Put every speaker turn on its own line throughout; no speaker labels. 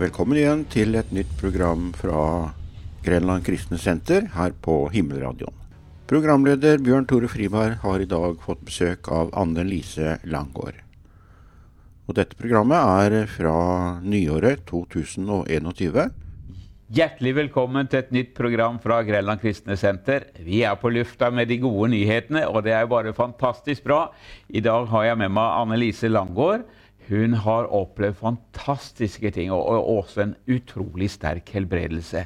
Velkommen igjen til et nytt program fra Grenland Kristne Senter her på Himmelradioen. Programleder Bjørn Tore Friberg har i dag fått besøk av Anne Lise Langgaard. Og dette programmet er fra nyåret 2021.
Hjertelig velkommen til et nytt program fra Grenland kristne senter. Vi er på lufta med de gode nyhetene, og det er jo bare fantastisk bra. I dag har jeg med meg Annelise Langgaard. Hun har opplevd fantastiske ting, og og også en utrolig sterk helbredelse.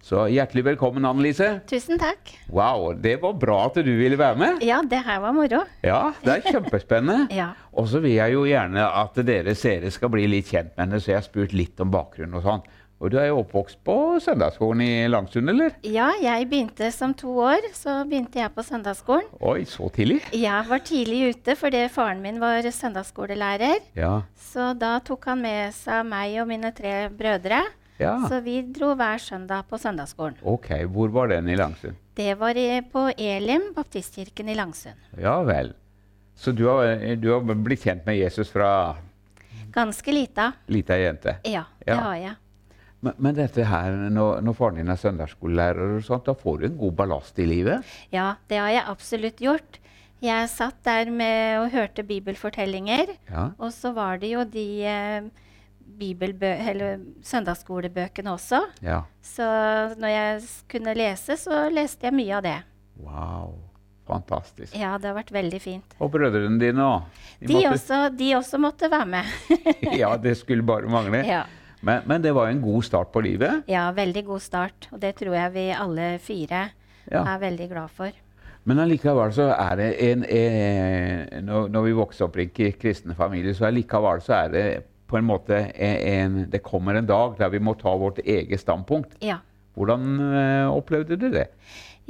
Så hjertelig velkommen, Annelise.
Tusen takk.
Wow, det var bra at du ville være med.
Ja, det her var moro.
Ja, det er kjempespennende.
Ja.
Og så vil jeg jo gjerne at dere seere skal bli litt kjent med henne, så jeg har spurt litt om bakgrunnen og sånn. Og du er jo oppvokst på søndagsskolen i Langsund, eller?
Ja, jeg begynte som to år, så begynte jeg på søndagsskolen.
Oi, så tidlig?
Jeg var tidlig ute fordi faren min var søndagsskolelærer.
Ja.
Så da tok han med seg meg og mine tre brødre.
ja.
Så vi dro hver søndag på søndagsskolen.
Ok, hvor var den i Langsund?
Det var i, på Elim, baptistkirken i Langsund.
Ja vel. Så du har, du har blitt kjent med Jesus fra
Ganske lita.
lita jente.
Ja, det
Ja.
har jeg.
Men, men dette her, når, når faren din er søndagsskolelærer, og sånt, da får du en god ballast i livet?
Ja, det har jeg absolutt gjort. Jeg satt der med og hørte bibelfortellinger.
Ja.
Og så var det jo de eh, bibelbø eller søndagsskolebøkene også.
ja.
Så når jeg s- kunne lese, så leste jeg mye av det.
Wow. Fantastisk.
Ja, det har vært veldig fint.
Og brødrene dine òg.
Eh. De, også, de også måtte være med.
ja, det skulle bare mangle.
ja.
Men, men det var jo en god start på livet.
ja, veldig god start. Og det tror jeg vi alle fire
Ja.
er veldig glad for.
Men allikevel så er det en, eh, når, når vi vokser opp i en ki- kristen familie, så allikevel så er det på en måte en, en Det kommer en dag der vi må ta vårt eget standpunkt.
Ja.
Hvordan eh, opplevde du det?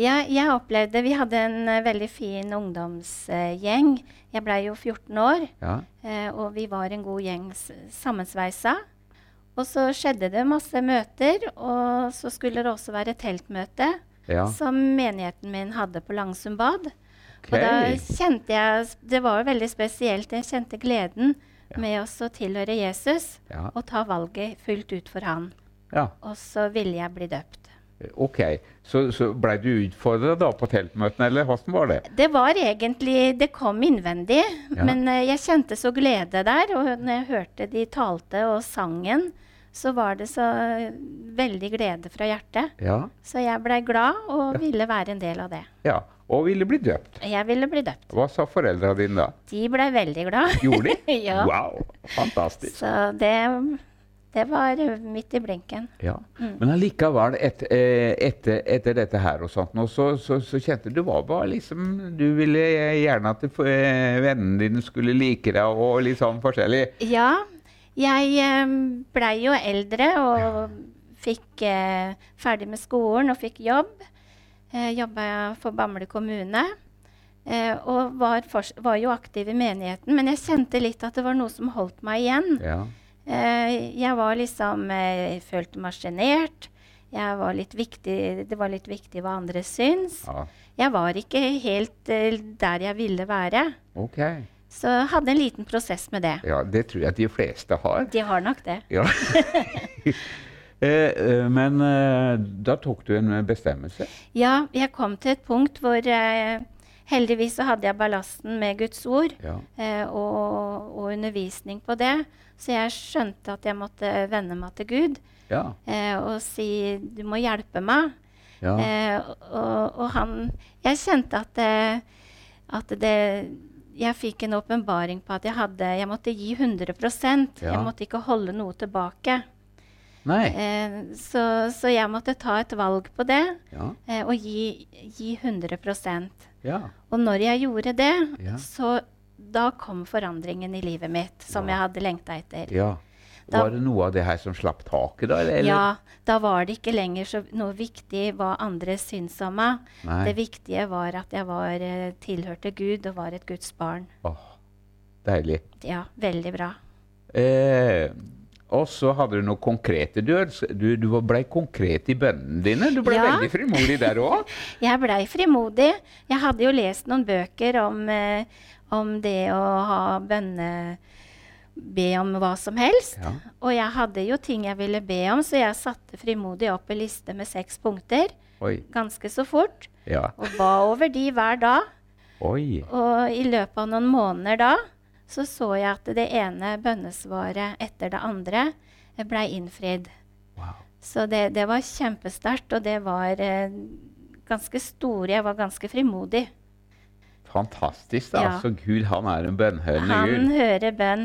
Jeg, jeg opplevde Vi hadde en eh, veldig fin ungdomsgjeng. jeg blei jo 14 år.
Ja.
Eh, og vi var en god gjeng s- sammensveisa. Og så skjedde det masse møter, og så skulle det også være teltmøte
ja.
som menigheten min hadde på Langsund bad.
Ok.
Og da kjente jeg s- Det var jo veldig spesielt. Jeg kjente gleden med oss å tilhøre Jesus
Ja.
og ta valget fullt ut for han.
ja.
Og så ville jeg bli døpt.
OK. Så, så blei du utfordra da på teltmøtene, eller hvordan var det?
Det var egentlig Det kom innvendig,
Ja.
men eh, jeg kjente så glede der. Og når jeg hørte de talte og sangen, så var det så eh, veldig glede fra hjertet.
Ja.
Så jeg blei glad og ville være en del av det.
ja. Og ville bli døpt.
Jeg ville bli døpt.
Hva sa foreldra dine da?
De blei veldig glad.
Gjorde de?
Ja.
Wow, fantastisk.
Så det, det var midt i blinken.
Ja.
Mm.
Men allikevel, et, eh, etter, etter dette her og sånt, nå, så, så, så kjente du var bare liksom Du ville gjerne at eh, vennene dine skulle like deg og litt sånn forskjellig.
Ja, jeg eh, blei jo eldre og fikk eh, ferdig med skolen og fikk jobb. Eh, Jobba for Bamble kommune. Eh, og var, fors- var jo aktiv i menigheten, men jeg kjente litt at det var noe som holdt meg igjen.
Ja.
Eh, jeg var liksom eh, jeg Følte meg sjenert. Jeg var litt viktig Det var litt viktig hva andre syns.
ja.
Jeg var ikke helt eh, der jeg ville være.
Ok.
Så jeg hadde en liten prosess med det.
Ja, det tror jeg at de fleste har.
De har nok det.
Ja. Eh, eh, Men eh, da tok du en bestemmelse.
Ja, jeg kom til et punkt hvor eh, heldigvis så hadde jeg ballasten med Guds ord
Ja.
eh, og, og undervisning på det. Så jeg skjønte at jeg måtte venne meg til Gud
Ja.
eh, og si 'du må hjelpe meg'.
ja.
Eh, og, og han Jeg kjente at, eh, at det Jeg fikk en åpenbaring på at jeg, hadde, jeg måtte gi 100
Ja.
Jeg måtte ikke holde noe tilbake.
Nei.
Eh, så, så jeg måtte ta et valg på det
Ja.
eh, og gi, gi 100
Ja.
Og når jeg gjorde det,
Ja.
så da kom forandringen i livet mitt som
Wow.
jeg hadde lengta etter.
ja.
Da-
Var det noe av det her som slapp taket, da? Eller?
Ja, da var det ikke lenger så noe viktig hva andre syns om meg.
Nei.
Det viktige var at jeg var, eh, tilhørte Gud og var et Guds barn.
Åh, deilig.
Ja, veldig bra.
Eh, og så hadde du noe konkrete. Du, øns- du, du var- blei konkret i bønnene dine. Du blei
Ja.
veldig frimodig der òg.
Jeg blei frimodig. Jeg hadde jo lest noen bøker om, eh, om det å ha bønne, be om hva som helst.
Ja.
Og jeg hadde jo ting jeg ville be om, så jeg satte frimodig opp en liste med seks punkter
Oi.
ganske så fort.
Ja.
Og ba over de hver dag.
Oi.
Og i løpet av noen måneder da så så jeg at det ene bønnesvaret etter det andre eh, blei innfridd.
Wow.
Så det, det var kjempesterkt, og det var eh, ganske store. Jeg var ganske frimodig.
Fantastisk. da.
Ja.
Altså, Gud han er en bønnhørende
Han
Gud.
hører bønn.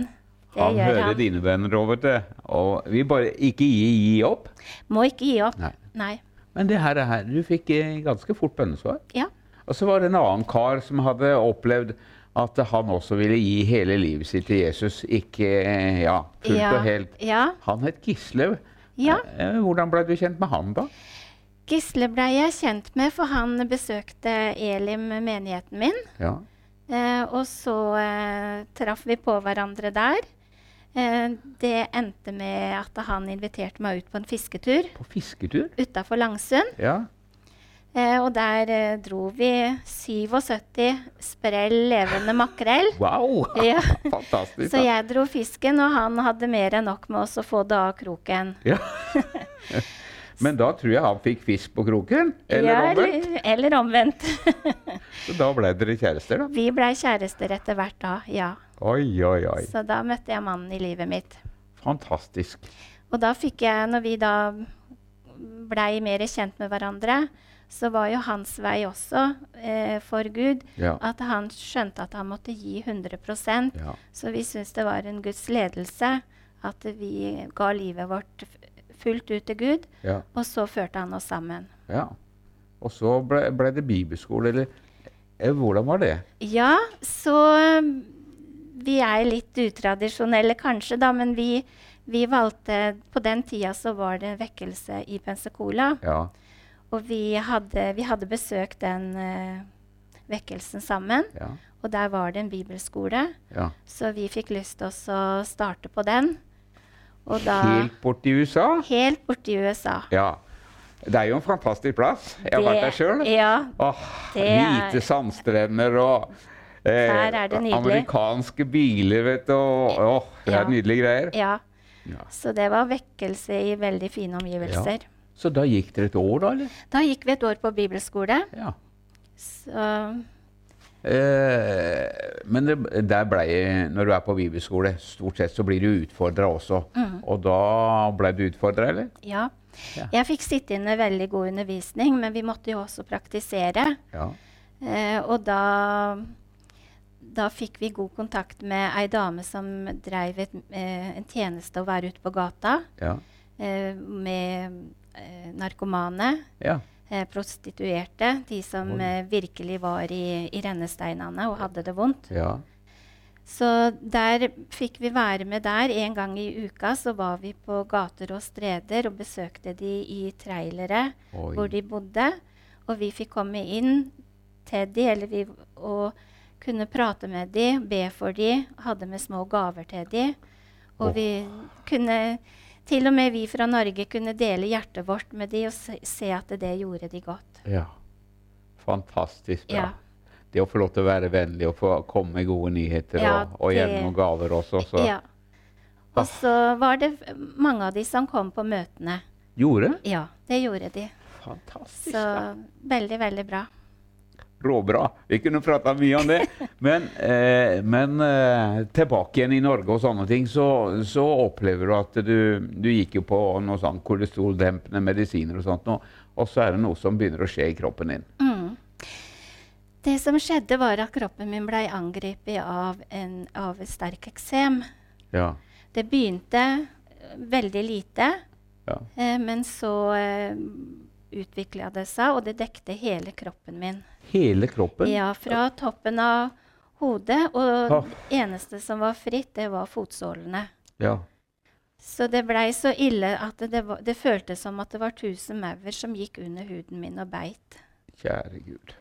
Det
Han
gjør
hører
han.
dine bønner, Robert. Og vi bare ikke gi, gi opp.
Må ikke gi opp.
Nei.
Nei.
Men det her, er her du fikk eh, ganske fort bønnesvar.
Ja.
Og så var det en annen kar som hadde opplevd at han også ville gi hele livet sitt til Jesus. Ikke eh, ja, fullt
ja.
og helt.
Ja.
Han het Gislaug.
Ja.
Eh, Hvordan ble du kjent med han, da?
Gisle blei jeg kjent med, for han besøkte Elim, menigheten min.
Ja.
Eh, og så eh, traff vi på hverandre der. Eh, det endte med at han inviterte meg ut på en fisketur
På fisketur?
utafor Langsund.
Ja.
Eh, og der eh, dro vi 77 sprell levende makrell.
Wow!
Ja.
Fantastisk.
Så
da.
jeg dro fisken, og han hadde mer enn nok med oss å få det av kroken.
Ja. Men da tror jeg han fikk fisk på kroken. Eller
Ja,
omvendt.
eller- Eller omvendt.
Så da ble dere kjærester, da.
vi blei kjærester etter hvert da, ja.
Oi, oi, oi.
Så da møtte jeg mannen i livet mitt.
Fantastisk.
Og da fikk jeg, når vi da blei mer kjent med hverandre, så var jo hans vei også eh, for Gud
Ja.
at han skjønte at han måtte gi 100
Ja.
Så vi syntes det var en Guds ledelse at vi ga livet vårt f- fullt ut til Gud,
Ja.
og så førte han oss sammen.
ja. Og så ble, ble det bibelskole, eller eh, Hvordan var det?
Ja, så um, vi er litt utradisjonelle kanskje, da, men vi, vi valgte På den tida så var det en vekkelse i Pensacola,
Ja.
og vi hadde, vi hadde besøkt den eh, vekkelsen sammen.
Ja.
Og der var det en bibelskole,
ja.
så vi fikk lyst til å starte på den. Og da
Helt borti USA?
Helt borti USA.
Ja. Det er jo en fantastisk plass. Jeg har
Det-
vært der altså. sjøl.
Ja,
Åh,
Det er-
Hvite sandstrender og eh,
Her er det nydelig.
amerikanske biler, vet du. Og, åh, det er
Ja.
nydelige greier.
ja.
Ja.
Så det var vekkelse i veldig fine omgivelser.
Så da gikk dere et år, da? eller?
Da gikk vi et år på bibelskole.
Ja.
Så
Eh, men det, der ble, når du er på bibelskole, stort sett så blir du utfordra også. Og da ble du utfordra, eller?
mm. ja.
Ja.
Jeg fikk sitte inne veldig god undervisning, men vi måtte jo også praktisere.
Ja.
Eh, og da, da fikk vi god kontakt med ei dame som dreiv et, eh, en tjeneste å være ute på gata
Ja.
eh, med eh, narkomane,
ja.
eh, prostituerte, de som
Oi.
eh, virkelig var i, i rennesteinene og hadde det vondt.
ja.
Så der fikk vi være med der. En gang i uka så var vi på gater og streder og besøkte de i trailere
Oi.
hvor de bodde. Og vi fikk komme inn til de, eller vi, og kunne prate med de, be for de, hadde med små gaver til de.
Åh.
Og vi kunne Til og med vi fra Norge kunne dele hjertet vårt med de og se, se at det gjorde de godt.
ja. Fantastisk bra.
Ja.
Det å få lov til å være vennlig og få komme med gode nyheter
Ja,
og, og gjerne
det-
noen gaver også. Så.
Ja. Og så var det f- mange av de som kom på møtene.
Gjorde?
Ja, det gjorde de.
Fantastisk.
Så
da.
veldig, veldig bra.
Råbra. Vi kunne prata mye om det. Men, eh, men eh, tilbake igjen i Norge og sånne ting, så, så opplever du at du, du gikk jo på noe sånn kolesteroldempende medisiner og sånt, nå, og så er det noe som begynner å skje i kroppen din.
Det som skjedde, var at kroppen min blei angrepet av, en, av et sterk eksem.
Ja.
Det begynte eh, veldig lite,
Ja.
eh, men så eh, utvikla det seg, og det dekte hele kroppen min.
Hele kroppen?
Ja, fra toppen av hodet, og
Ah.
det eneste som var fritt, det var fotsålene.
Ja.
Så det blei så ille at det, var, det føltes som at det var tusen maur som gikk under huden min og beit.
Kjære Gud.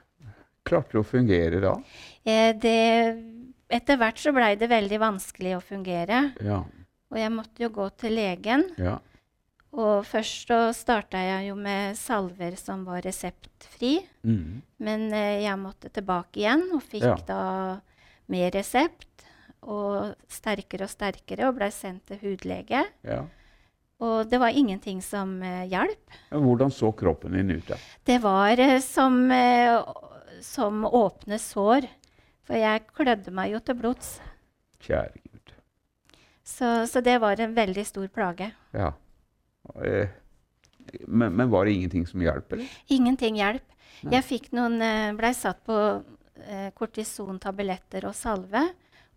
Klarte du å fungere da?
Eh, det, etter hvert så blei det veldig vanskelig å fungere,
Ja.
og jeg måtte jo gå til legen.
ja.
Og først så starta jeg jo med salver som var reseptfri,
Mm.
men eh, jeg måtte tilbake igjen og fikk
Ja.
da med resept. og sterkere og sterkere og blei sendt til hudlege.
Ja.
Og det var ingenting som eh, hjalp.
Men Hvordan så kroppen din ut? da?
Det var eh, som, eh, å- som åpne sår. For jeg klødde meg jo til blods.
Kjære Gud.
Så, så det var en veldig stor plage.
Ja. Eh, Men, men var det ingenting som hjalp? eller?
Ingenting hjelp.
Nei.
Jeg fikk noen, blei satt på eh, kortisontabletter og salve,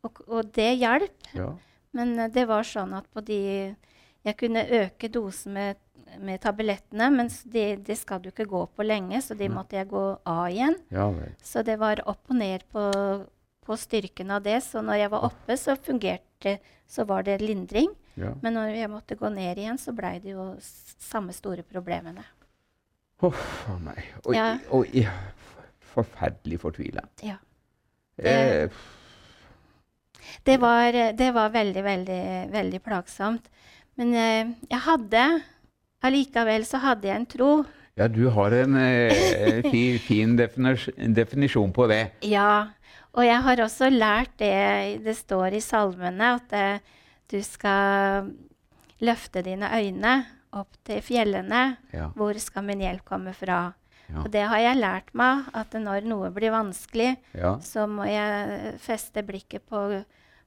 og, og det hjalp.
Ja.
Men eh, det var sånn at på de Jeg kunne øke dosen med, med tablettene, men s- de, de skal du ikke gå på lenge, så de
Nei.
måtte jeg gå av igjen.
ja vel.
Så det var opp og ned på, på styrken av det. Så når jeg var oppe, så fungerte Så var det lindring.
Ja.
Men når jeg måtte gå ned igjen, så blei det jo s- samme store problemene.
Huff a meg. Og,
Ja.
og ja, forferdelig fortvila.
Ja.
Eh,
Det var, det var veldig, veldig, veldig plagsomt. Men eh, jeg hadde Allikevel så hadde jeg en tro.
ja, du har en eh, fin, fin definis definisjon på det.
Ja. Og jeg har også lært det det står i salmene, at eh, du skal løfte dine øyne opp til fjellene.
Ja.
Hvor skal min hjelp komme fra?
Ja.
Og det har jeg lært meg, at når noe blir vanskelig,
Ja.
så må jeg feste blikket på,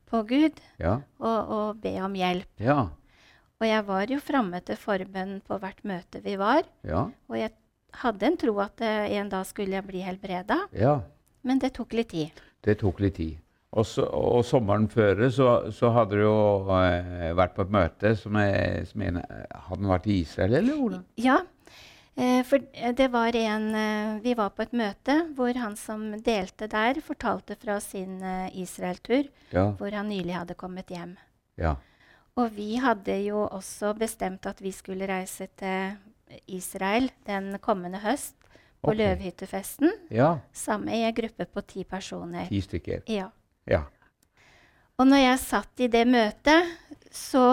på Gud
Ja.
og, og be om hjelp.
Ja.
Og jeg var jo framme til forbønn på hvert møte vi var.
Ja.
Og jeg hadde en tro at eh, en dag skulle jeg bli helbreda,
ja.
men det tok litt tid.
Det tok litt tid. Og, så, og sommeren før så, så hadde du jo eh, vært på et møte som, eh, som en, Hadde den vært i Israel, eller hvordan?
Ja, eh, for eh, det var en eh, Vi var på et møte hvor han som delte der, fortalte fra sin eh, Israel-tur,
Ja.
hvor han nylig hadde kommet hjem.
ja.
Og vi hadde jo også bestemt at vi skulle reise til Israel den kommende høst på
Ok.
løvhyttefesten.
Ja.
Samme i en gruppe på ti personer.
Ti stykker.
Ja.
Ja.
Og når jeg satt i det møtet, så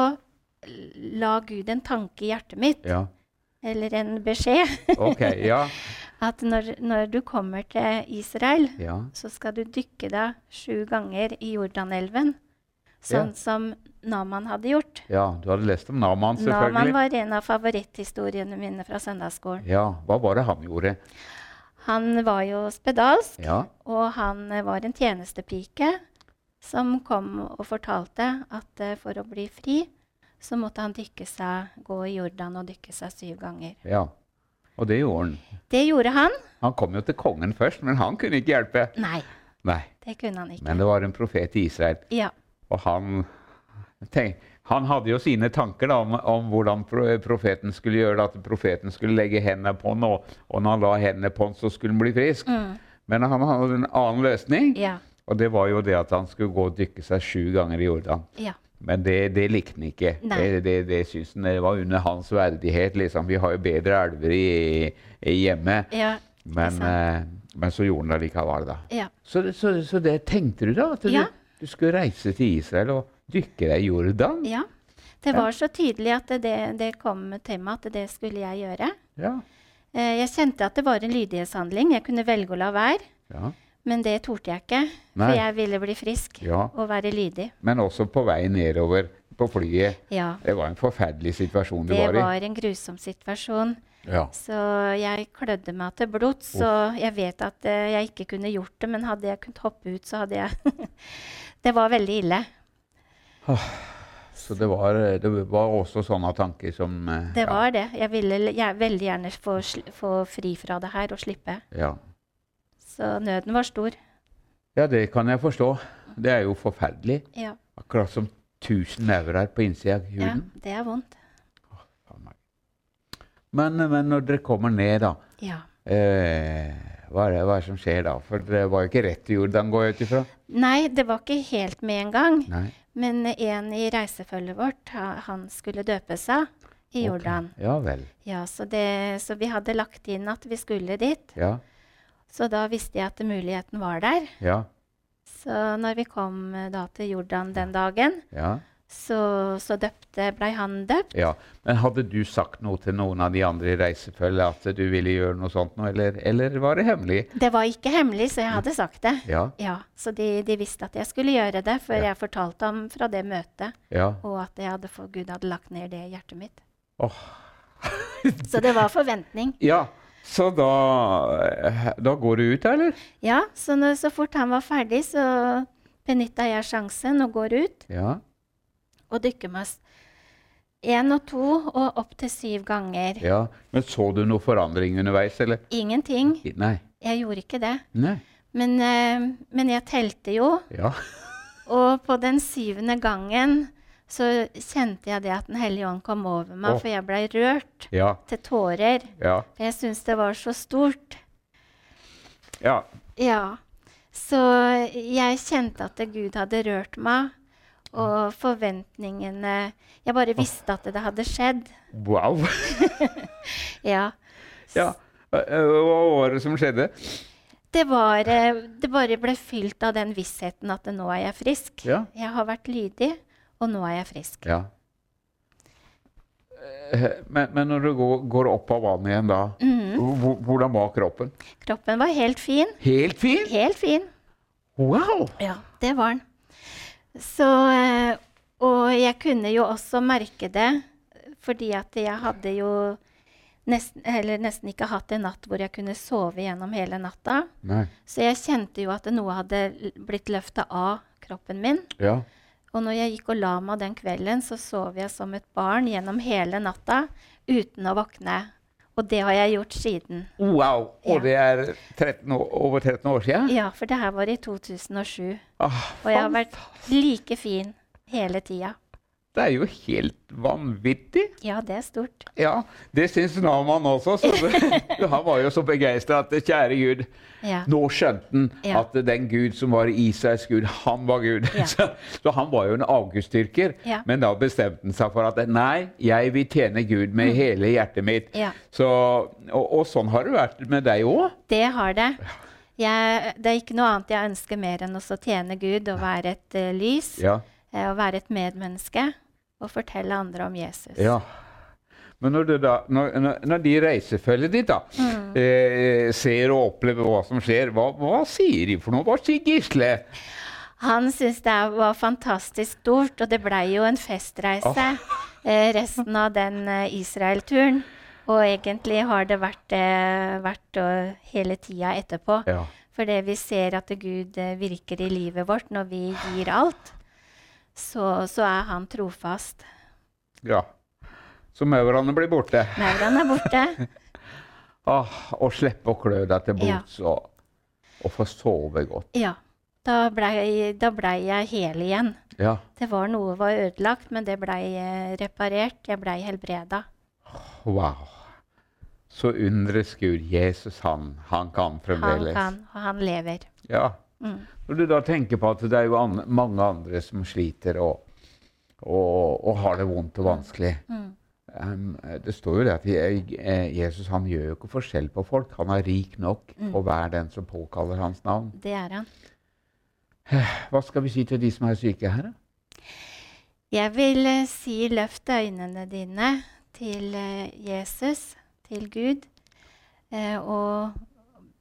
la Gud en tanke i hjertet mitt,
Ja.
eller en beskjed,
OK. Ja.
at når, når du kommer til Israel,
Ja.
så skal du dykke deg sju ganger i Jordanelven, sånn
Ja.
som Naman hadde gjort.
ja. Du hadde lest om Naman,
Naman
selvfølgelig.
var en av favoritthistoriene mine fra søndagsskolen.
Ja. Hva var det han gjorde?
Han var jo spedalsk,
Ja.
og han eh, var en tjenestepike som kom og fortalte at eh, for å bli fri, så måtte han dykke seg, gå i Jordan og dykke seg syv ganger.
ja. Og det gjorde han.
Det gjorde han.
Han kom jo til kongen først, men han kunne ikke hjelpe.
Nei,
Nei.
det kunne han ikke.
Men det var en profet i Israel.
Ja,
Og han, tenk, han hadde jo sine tanker da, om, om hvordan pro- profeten skulle gjøre det. At profeten skulle legge hendene på han, og, og når han la hendene på han, så skulle han bli frisk.
Mm.
Men han hadde en annen løsning,
ja,
og det var jo det at han skulle gå og dykke seg sju ganger i Jordan.
ja.
Men det, det likte han ikke.
Nei.
Det, det, det syntes han det var under hans verdighet. liksom. Vi har jo bedre elver i, i hjemmet.
ja.
Men, eh, men så gjorde han det likevel, da.
ja.
Så, det- så, så det tenkte du da? At du,
Ja.
du skulle reise til Israel og dykke deg i Jordan?
ja. Det var så tydelig at det- det, det kom til meg at det skulle jeg gjøre.
Ja.
Eh, Jeg kjente at det var en lydighetshandling. Jeg kunne velge å la være,
ja.
men det torde jeg ikke.
Nei.
For jeg ville bli frisk
Ja.
og være lydig.
Men også på vei nedover på flyet.
Ja.
Det var en forferdelig situasjon du
Det
var i.
var en grusom situasjon.
Ja.
Så jeg klødde meg til blods. Så jeg vet at eh, jeg ikke kunne gjort det, men hadde jeg kunnet hoppe ut, så hadde jeg Det var veldig ille.
Så det var, det var også sånne tanker som eh,
Det
ja.
var det. Jeg ville l- jeg veldig gjerne få, sli- få fri fra det her og slippe.
Ja.
Så nøden var stor.
ja, det kan jeg forstå. Det er jo forferdelig.
Ja.
Akkurat som 1000 euro her på innsida av
ja
huden.
det er vondt.
Faen meg. Men, men når dere kommer ned, da
Ja.
eh, hva, er det, hva er det som skjer da? For det var jo ikke rett til Jordan, går jeg ut ifra?
Nei, det var ikke helt med en gang.
Nei.
Men en i reisefølget vårt, ha- han skulle døpe seg i
Ok.
Jordan.
Ja vel.
Ja, så, det, så vi hadde lagt inn at vi skulle dit.
Ja.
Så da visste jeg at muligheten var der.
Ja.
Så når vi kom eh, da til Jordan den dagen,
Ja.
så, så døpte, blei han døpt.
Ja. Men hadde du sagt noe til noen av de andre i reisefølget at du ville gjøre noe sånt nå, eller, eller var det hemmelig?
Det var ikke hemmelig, så jeg hadde sagt det.
Ja.
Ja, Så de, de visste at jeg skulle gjøre det, for jeg fortalte ham fra det møtet,
Ja.
og at jeg hadde for, Gud hadde lagt ned det i hjertet mitt.
Åh.
Så det var forventning.
ja. Så da, da går du ut, da, eller?
Ja, så når, så fort han var ferdig, så benytta jeg sjansen og går ut
Ja.
og dykker meg én og to og opp til syv ganger.
ja. Men så du noe forandring underveis, eller?
Ingenting.
Nei.
Jeg gjorde ikke det.
Nei.
Men, eh, men jeg telte jo,
Ja.
og på den syvende gangen så kjente jeg det at Den hellige ånd kom over meg,
Åh.
for jeg blei rørt
Ja.
til tårer.
Ja.
For jeg syntes det var så stort.
ja.
Ja. Så jeg kjente at Gud hadde rørt meg, og
Mm.
forventningene Jeg bare visste at det hadde skjedd.
Wow.
Ja.
ja. Eh, eh, Hva var det som skjedde?
Det, var, eh, det bare ble fylt av den vissheten at nå er jeg frisk.
Ja.
Jeg har vært lydig, og nå er jeg frisk.
Ja. Eh, Men, men når du går, går opp av vannet igjen da,
Mhm.
hvor- hvordan var kroppen?
Kroppen var helt fin.
Helt fin!
Helt fin.
Wow!
Ja, det var den. Så eh, Og jeg kunne jo også merke det, fordi at jeg hadde jo nesten, eller nesten ikke hatt en natt hvor jeg kunne sove gjennom hele natta.
Nei.
Så jeg kjente jo at noe hadde l- blitt løfta av kroppen min.
Ja.
Og når jeg gikk og la meg den kvelden, så sov jeg som et barn gjennom hele natta uten å våkne. Og det har jeg gjort siden.
Wow! Og
Ja.
det er 13 år, over 13 år siden?
Ja, for det her var i 2007.
Ah,
Og jeg har vært like fin hele tida.
det er jo helt vanvittig!
Ja, det er stort.
Ja, det syns Naman også. Så det, han var jo så begeistra at kjære Gud,
Ja.
Nå skjønte han
Ja.
at den Gud som var Isaks Gud, han var Gud.
Ja.
Så, så han var jo en avgudsdyrker.
Ja.
Men da bestemte han seg for at nei, jeg vil tjene Gud med hele hjertet mitt.
Mm. Ja.
Så, og, og sånn har det vært med deg òg.
Det har det. Jeg, det er ikke noe annet jeg ønsker mer enn også å tjene Gud og være et eh, lys.
Ja.
eh, og være et medmenneske og fortelle andre om Jesus.
Ja. Men når, du da, når, når- når de reisefølget ditt da, eh, ser og opplever hva som skjer, hva, hva sier de for noe? Hva sier Gisle?
Han syntes det var fantastisk stort, og det blei jo en festreise eh, resten av den eh, Israel-turen. Og egentlig har det vært, eh, vært eh, hele tida etterpå.
Ja.
Fordi vi ser at Gud eh, virker i livet vårt når vi gir alt. Så, så er han trofast.
ja. Så maurene blir borte.
Maurene er borte.
Åh, å slippe å klø deg til
Ja.
blods og, og få sove godt.
Ja. Da blei da blei jeg hel igjen.
Ja.
Det var noe var ødelagt, men det blei eh, reparert. Jeg blei helbreda.
Wow. Så undres Gud. Jesus, han, han kan
Han
fremdeles.
kan, og han lever. Mm,
Ja. Når du da tenker på at det er jo an mange andre som sliter og, og, og har det vondt og vanskelig
mm.
Em, Det står jo det at Je- eh, Jesus han gjør jo ikke forskjell på folk. Han er rik nok
Mm.
på hver den som påkaller hans navn.
Det er han.
Hva skal vi si til de som er syke her? da?
Jeg vil eh, si løft øynene dine til eh, Jesus, til Gud, eh, og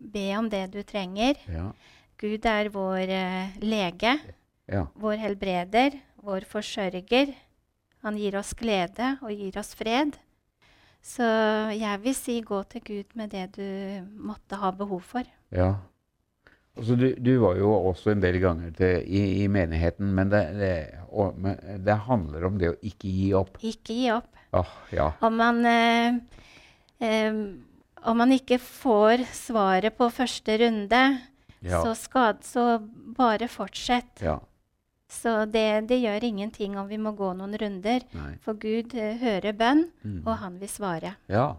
be om det du trenger.
Ja.
Gud er vår eh, lege,
ja.
vår helbreder, vår forsørger. Han gir oss glede og gir oss fred. Så jeg vil si gå til Gud med det du måtte ha behov for.
Ja. Altså, du, du var jo også en del ganger til, i, i menigheten, men det, det, og, men det handler om det å ikke gi opp.
Ikke gi opp.
Åh, ja.
Om man, eh, eh, om man ikke får svaret på første runde,
Ja.
så, skad, så bare fortsett.
ja.
Så det, det gjør ingenting om vi må gå noen runder.
Nei.
For Gud eh, hører bønn,
Mm.
og han vil svare.
Ja.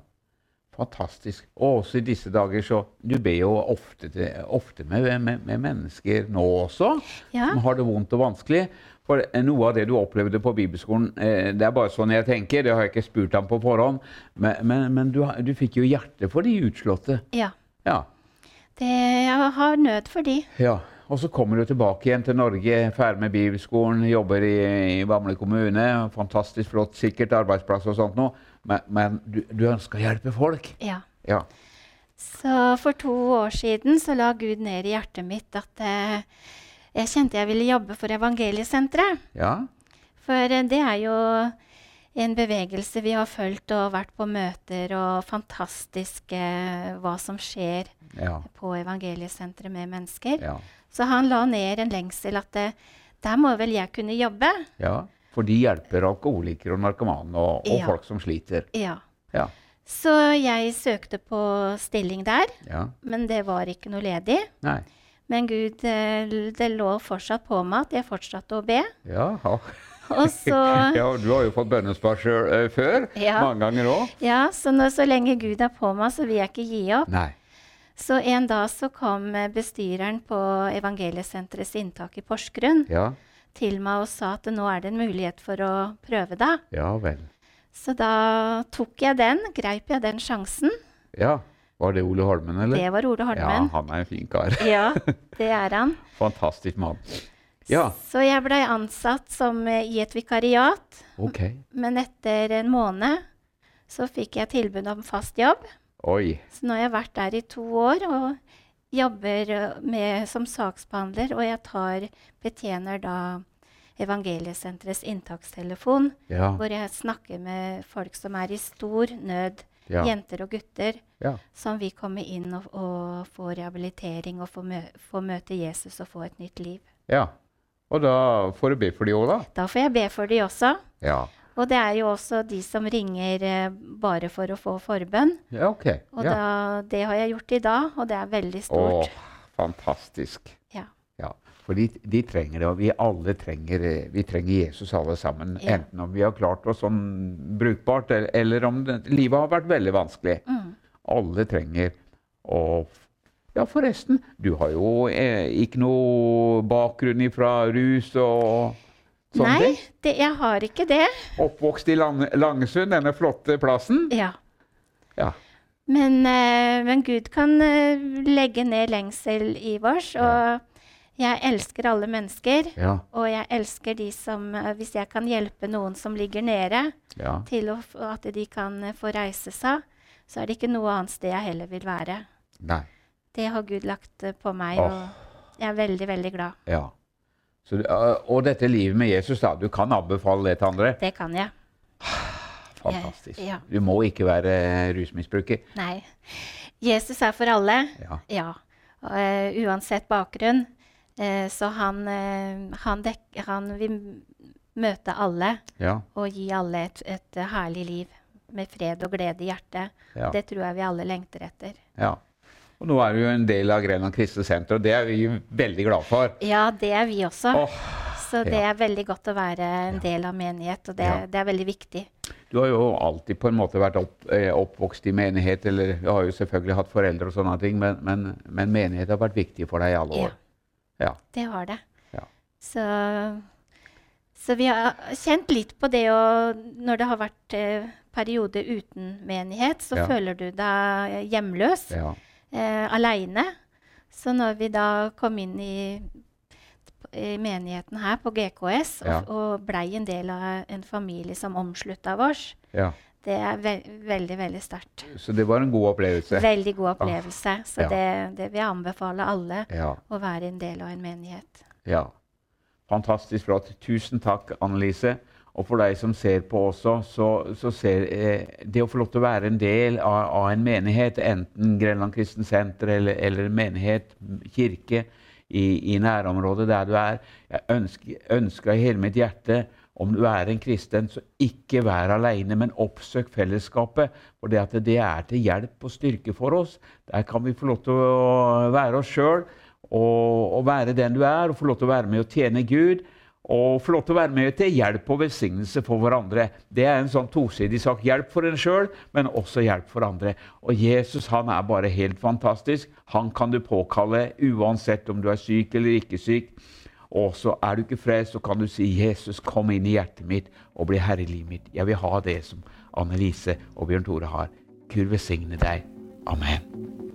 Fantastisk. Og også i disse dager så Du ber jo ofte, til, ofte med, med, med mennesker nå også.
Ja,
som har det vondt og vanskelig. For eh, noe av det du opplevde på bibelskolen, eh, det er bare sånn jeg tenker, det har jeg ikke spurt ham på forhånd, men, men, men du, har- du fikk jo hjerte for de utslåtte.
ja.
Ja.
Det, jeg har nød for de.
ja. Og så kommer du tilbake igjen til Norge, ferdig med bibelskolen, jobber i, i Bamble kommune. Fantastisk flott, sikkert arbeidsplass og sånt noe. Men, men du, du ønsker å hjelpe folk.
Ja.
Ja.
Så for to år siden så la Gud ned i hjertet mitt at eh, jeg kjente jeg ville jobbe for Evangeliesenteret.
ja.
For eh, det er jo en bevegelse vi har fulgt og vært på møter, og fantastisk eh, hva som skjer
Ja.
på Evangeliesenteret med mennesker.
Ja.
Så han la ned en lengsel at eh, der må vel jeg kunne jobbe?
ja. For de hjelper alkoholikere og narkomane og, og
Ja.
folk som sliter.
Ja.
Ja.
Så jeg søkte på stilling der,
ja.
men det var ikke noe ledig.
Nei.
Men Gud, eh, det lå fortsatt på meg at jeg fortsatte å be.
Ja. ja.
Og så,
ja du har jo fått bønnesvar sjøl eh, før.
Ja.
Mange ganger òg.
ja, så når, så lenge Gud er på meg, så vil jeg ikke gi opp.
Nei.
Så en dag så kom eh, bestyreren på Evangeliesenterets inntak i Porsgrunn
Ja.
til meg og sa at nå er det en mulighet for å prøve deg.
Ja vel.
Så da tok jeg den, greip jeg den sjansen.
Ja. Var det Ole Holmen, eller?
Det var Ole
Ja,
Holmen.
han er en fin kar.
Ja, det er han.
Fantastisk mann. Ja,
Så jeg blei ansatt som, eh, i et vikariat,
ok.
men etter en måned så fikk jeg tilbud om fast jobb.
Oi.
Så nå har jeg vært der i to år og jobber eh, med, som saksbehandler, og jeg tar, betjener da Evangeliesenterets inntakstelefon,
Ja.
hvor jeg snakker med folk som er i stor nød,
Ja.
jenter og gutter,
ja.
som vil komme inn og, og få rehabilitering og få, mø få møte Jesus og få et nytt liv.
ja. Og da får du be for de òg, da.
Da får jeg be for de også.
Ja.
Og det er jo også de som ringer eh, bare for å få forbønn.
ja ok.
Og
ja.
da, det har jeg gjort i dag, og det er veldig stort.
Å, fantastisk.
Ja.
Ja. For de, de trenger det, og vi alle trenger, eh, vi trenger Jesus alle sammen.
Ja.
Enten om vi har klart oss sånn brukbart, eller, eller om det, livet har vært veldig vanskelig.
Mm.
Alle trenger å Ja, forresten, du har jo eh, ikke noe bakgrunn ifra rus og sånne
Nei,
ting.
det, jeg har ikke det.
Oppvokst i Lang Langesund, denne flotte plassen.
Ja.
Ja.
Men, eh, men Gud kan eh, legge ned lengsel i vårs, og jeg elsker alle mennesker.
Ja.
Og jeg elsker de som eh, Hvis jeg kan hjelpe noen som ligger nede,
ja.
til å, f- at de kan eh, få reise seg, så er det ikke noe annet sted jeg heller vil være.
Nei.
Det har Gud lagt eh, på meg,
Åh.
og jeg er veldig, veldig glad.
Ja. Så, du- eh, og dette livet med Jesus, da. Du kan anbefale det til andre.
Det kan jeg.
Fantastisk.
Ja.
Du må ikke være eh, rusmisbruker.
Nei. Jesus er for alle.
Ja.
Ja. Og, eh, uansett bakgrunn. Eh, så han, eh, han, dek han vil m- møte alle
Ja.
og gi alle et, et eh, herlig liv med fred og glede i hjertet.
Ja.
Det tror jeg vi alle lengter etter.
ja. Og nå er du jo en del av Grenland Kristne Senter, og det er vi jo veldig glad for.
Ja, det er vi også. så det
ja.
er veldig godt å være en del av menighet, og det,
Ja.
det er veldig viktig.
Du har jo alltid på en måte vært opp, eh, oppvokst i menighet, eller du har jo selvfølgelig hatt foreldre og sånne ting, men, men, men menighet har vært viktig for deg i alle
Ja.
år. Ja.
Det har det.
Ja.
Så, så vi har kjent litt på det og når det har vært eh, periode uten menighet, så
Ja.
føler du deg hjemløs,
Ja.
eh, aleine. Så når vi da kom inn i, i menigheten her på GKS og,
Ja.
og blei en del av en familie som omslutta oss,
ja.
det er ve veldig, veldig sterkt.
Så det var en god opplevelse.
Veldig god opplevelse. Så
Ja.
det, det vil jeg anbefale alle
Ja.
å være en del av en menighet.
ja. Fantastisk flott. Tusen takk, Annelise. Og for deg som ser på også, så, så ser eh, det å få lov til å være en del av, av en menighet, enten Grenland Kristen Senter eller, eller en menighet, kirke, i, i nærområdet der du er. Jeg ønsker, ønsker av hele mitt hjerte om du er en kristen, så ikke vær alene, men oppsøk fellesskapet. For det, at det er til hjelp og styrke for oss. Der kan vi få lov til å være oss sjøl og, og være den du er, og få lov til å være med og tjene Gud. Og få lov til å være med til hjelp og velsignelse for hverandre. Det er en sånn tosidig sak. Hjelp for en sjøl, men også hjelp for andre. Og Jesus han er bare helt fantastisk. Han kan du påkalle uansett om du er syk eller ikke syk. Og så er du ikke frelst, så kan du si 'Jesus, kom inn i hjertet mitt og bli herre i livet mitt'. Jeg vil ha det som Annelise og Bjørn Tore har. Gud velsigne deg. Amen.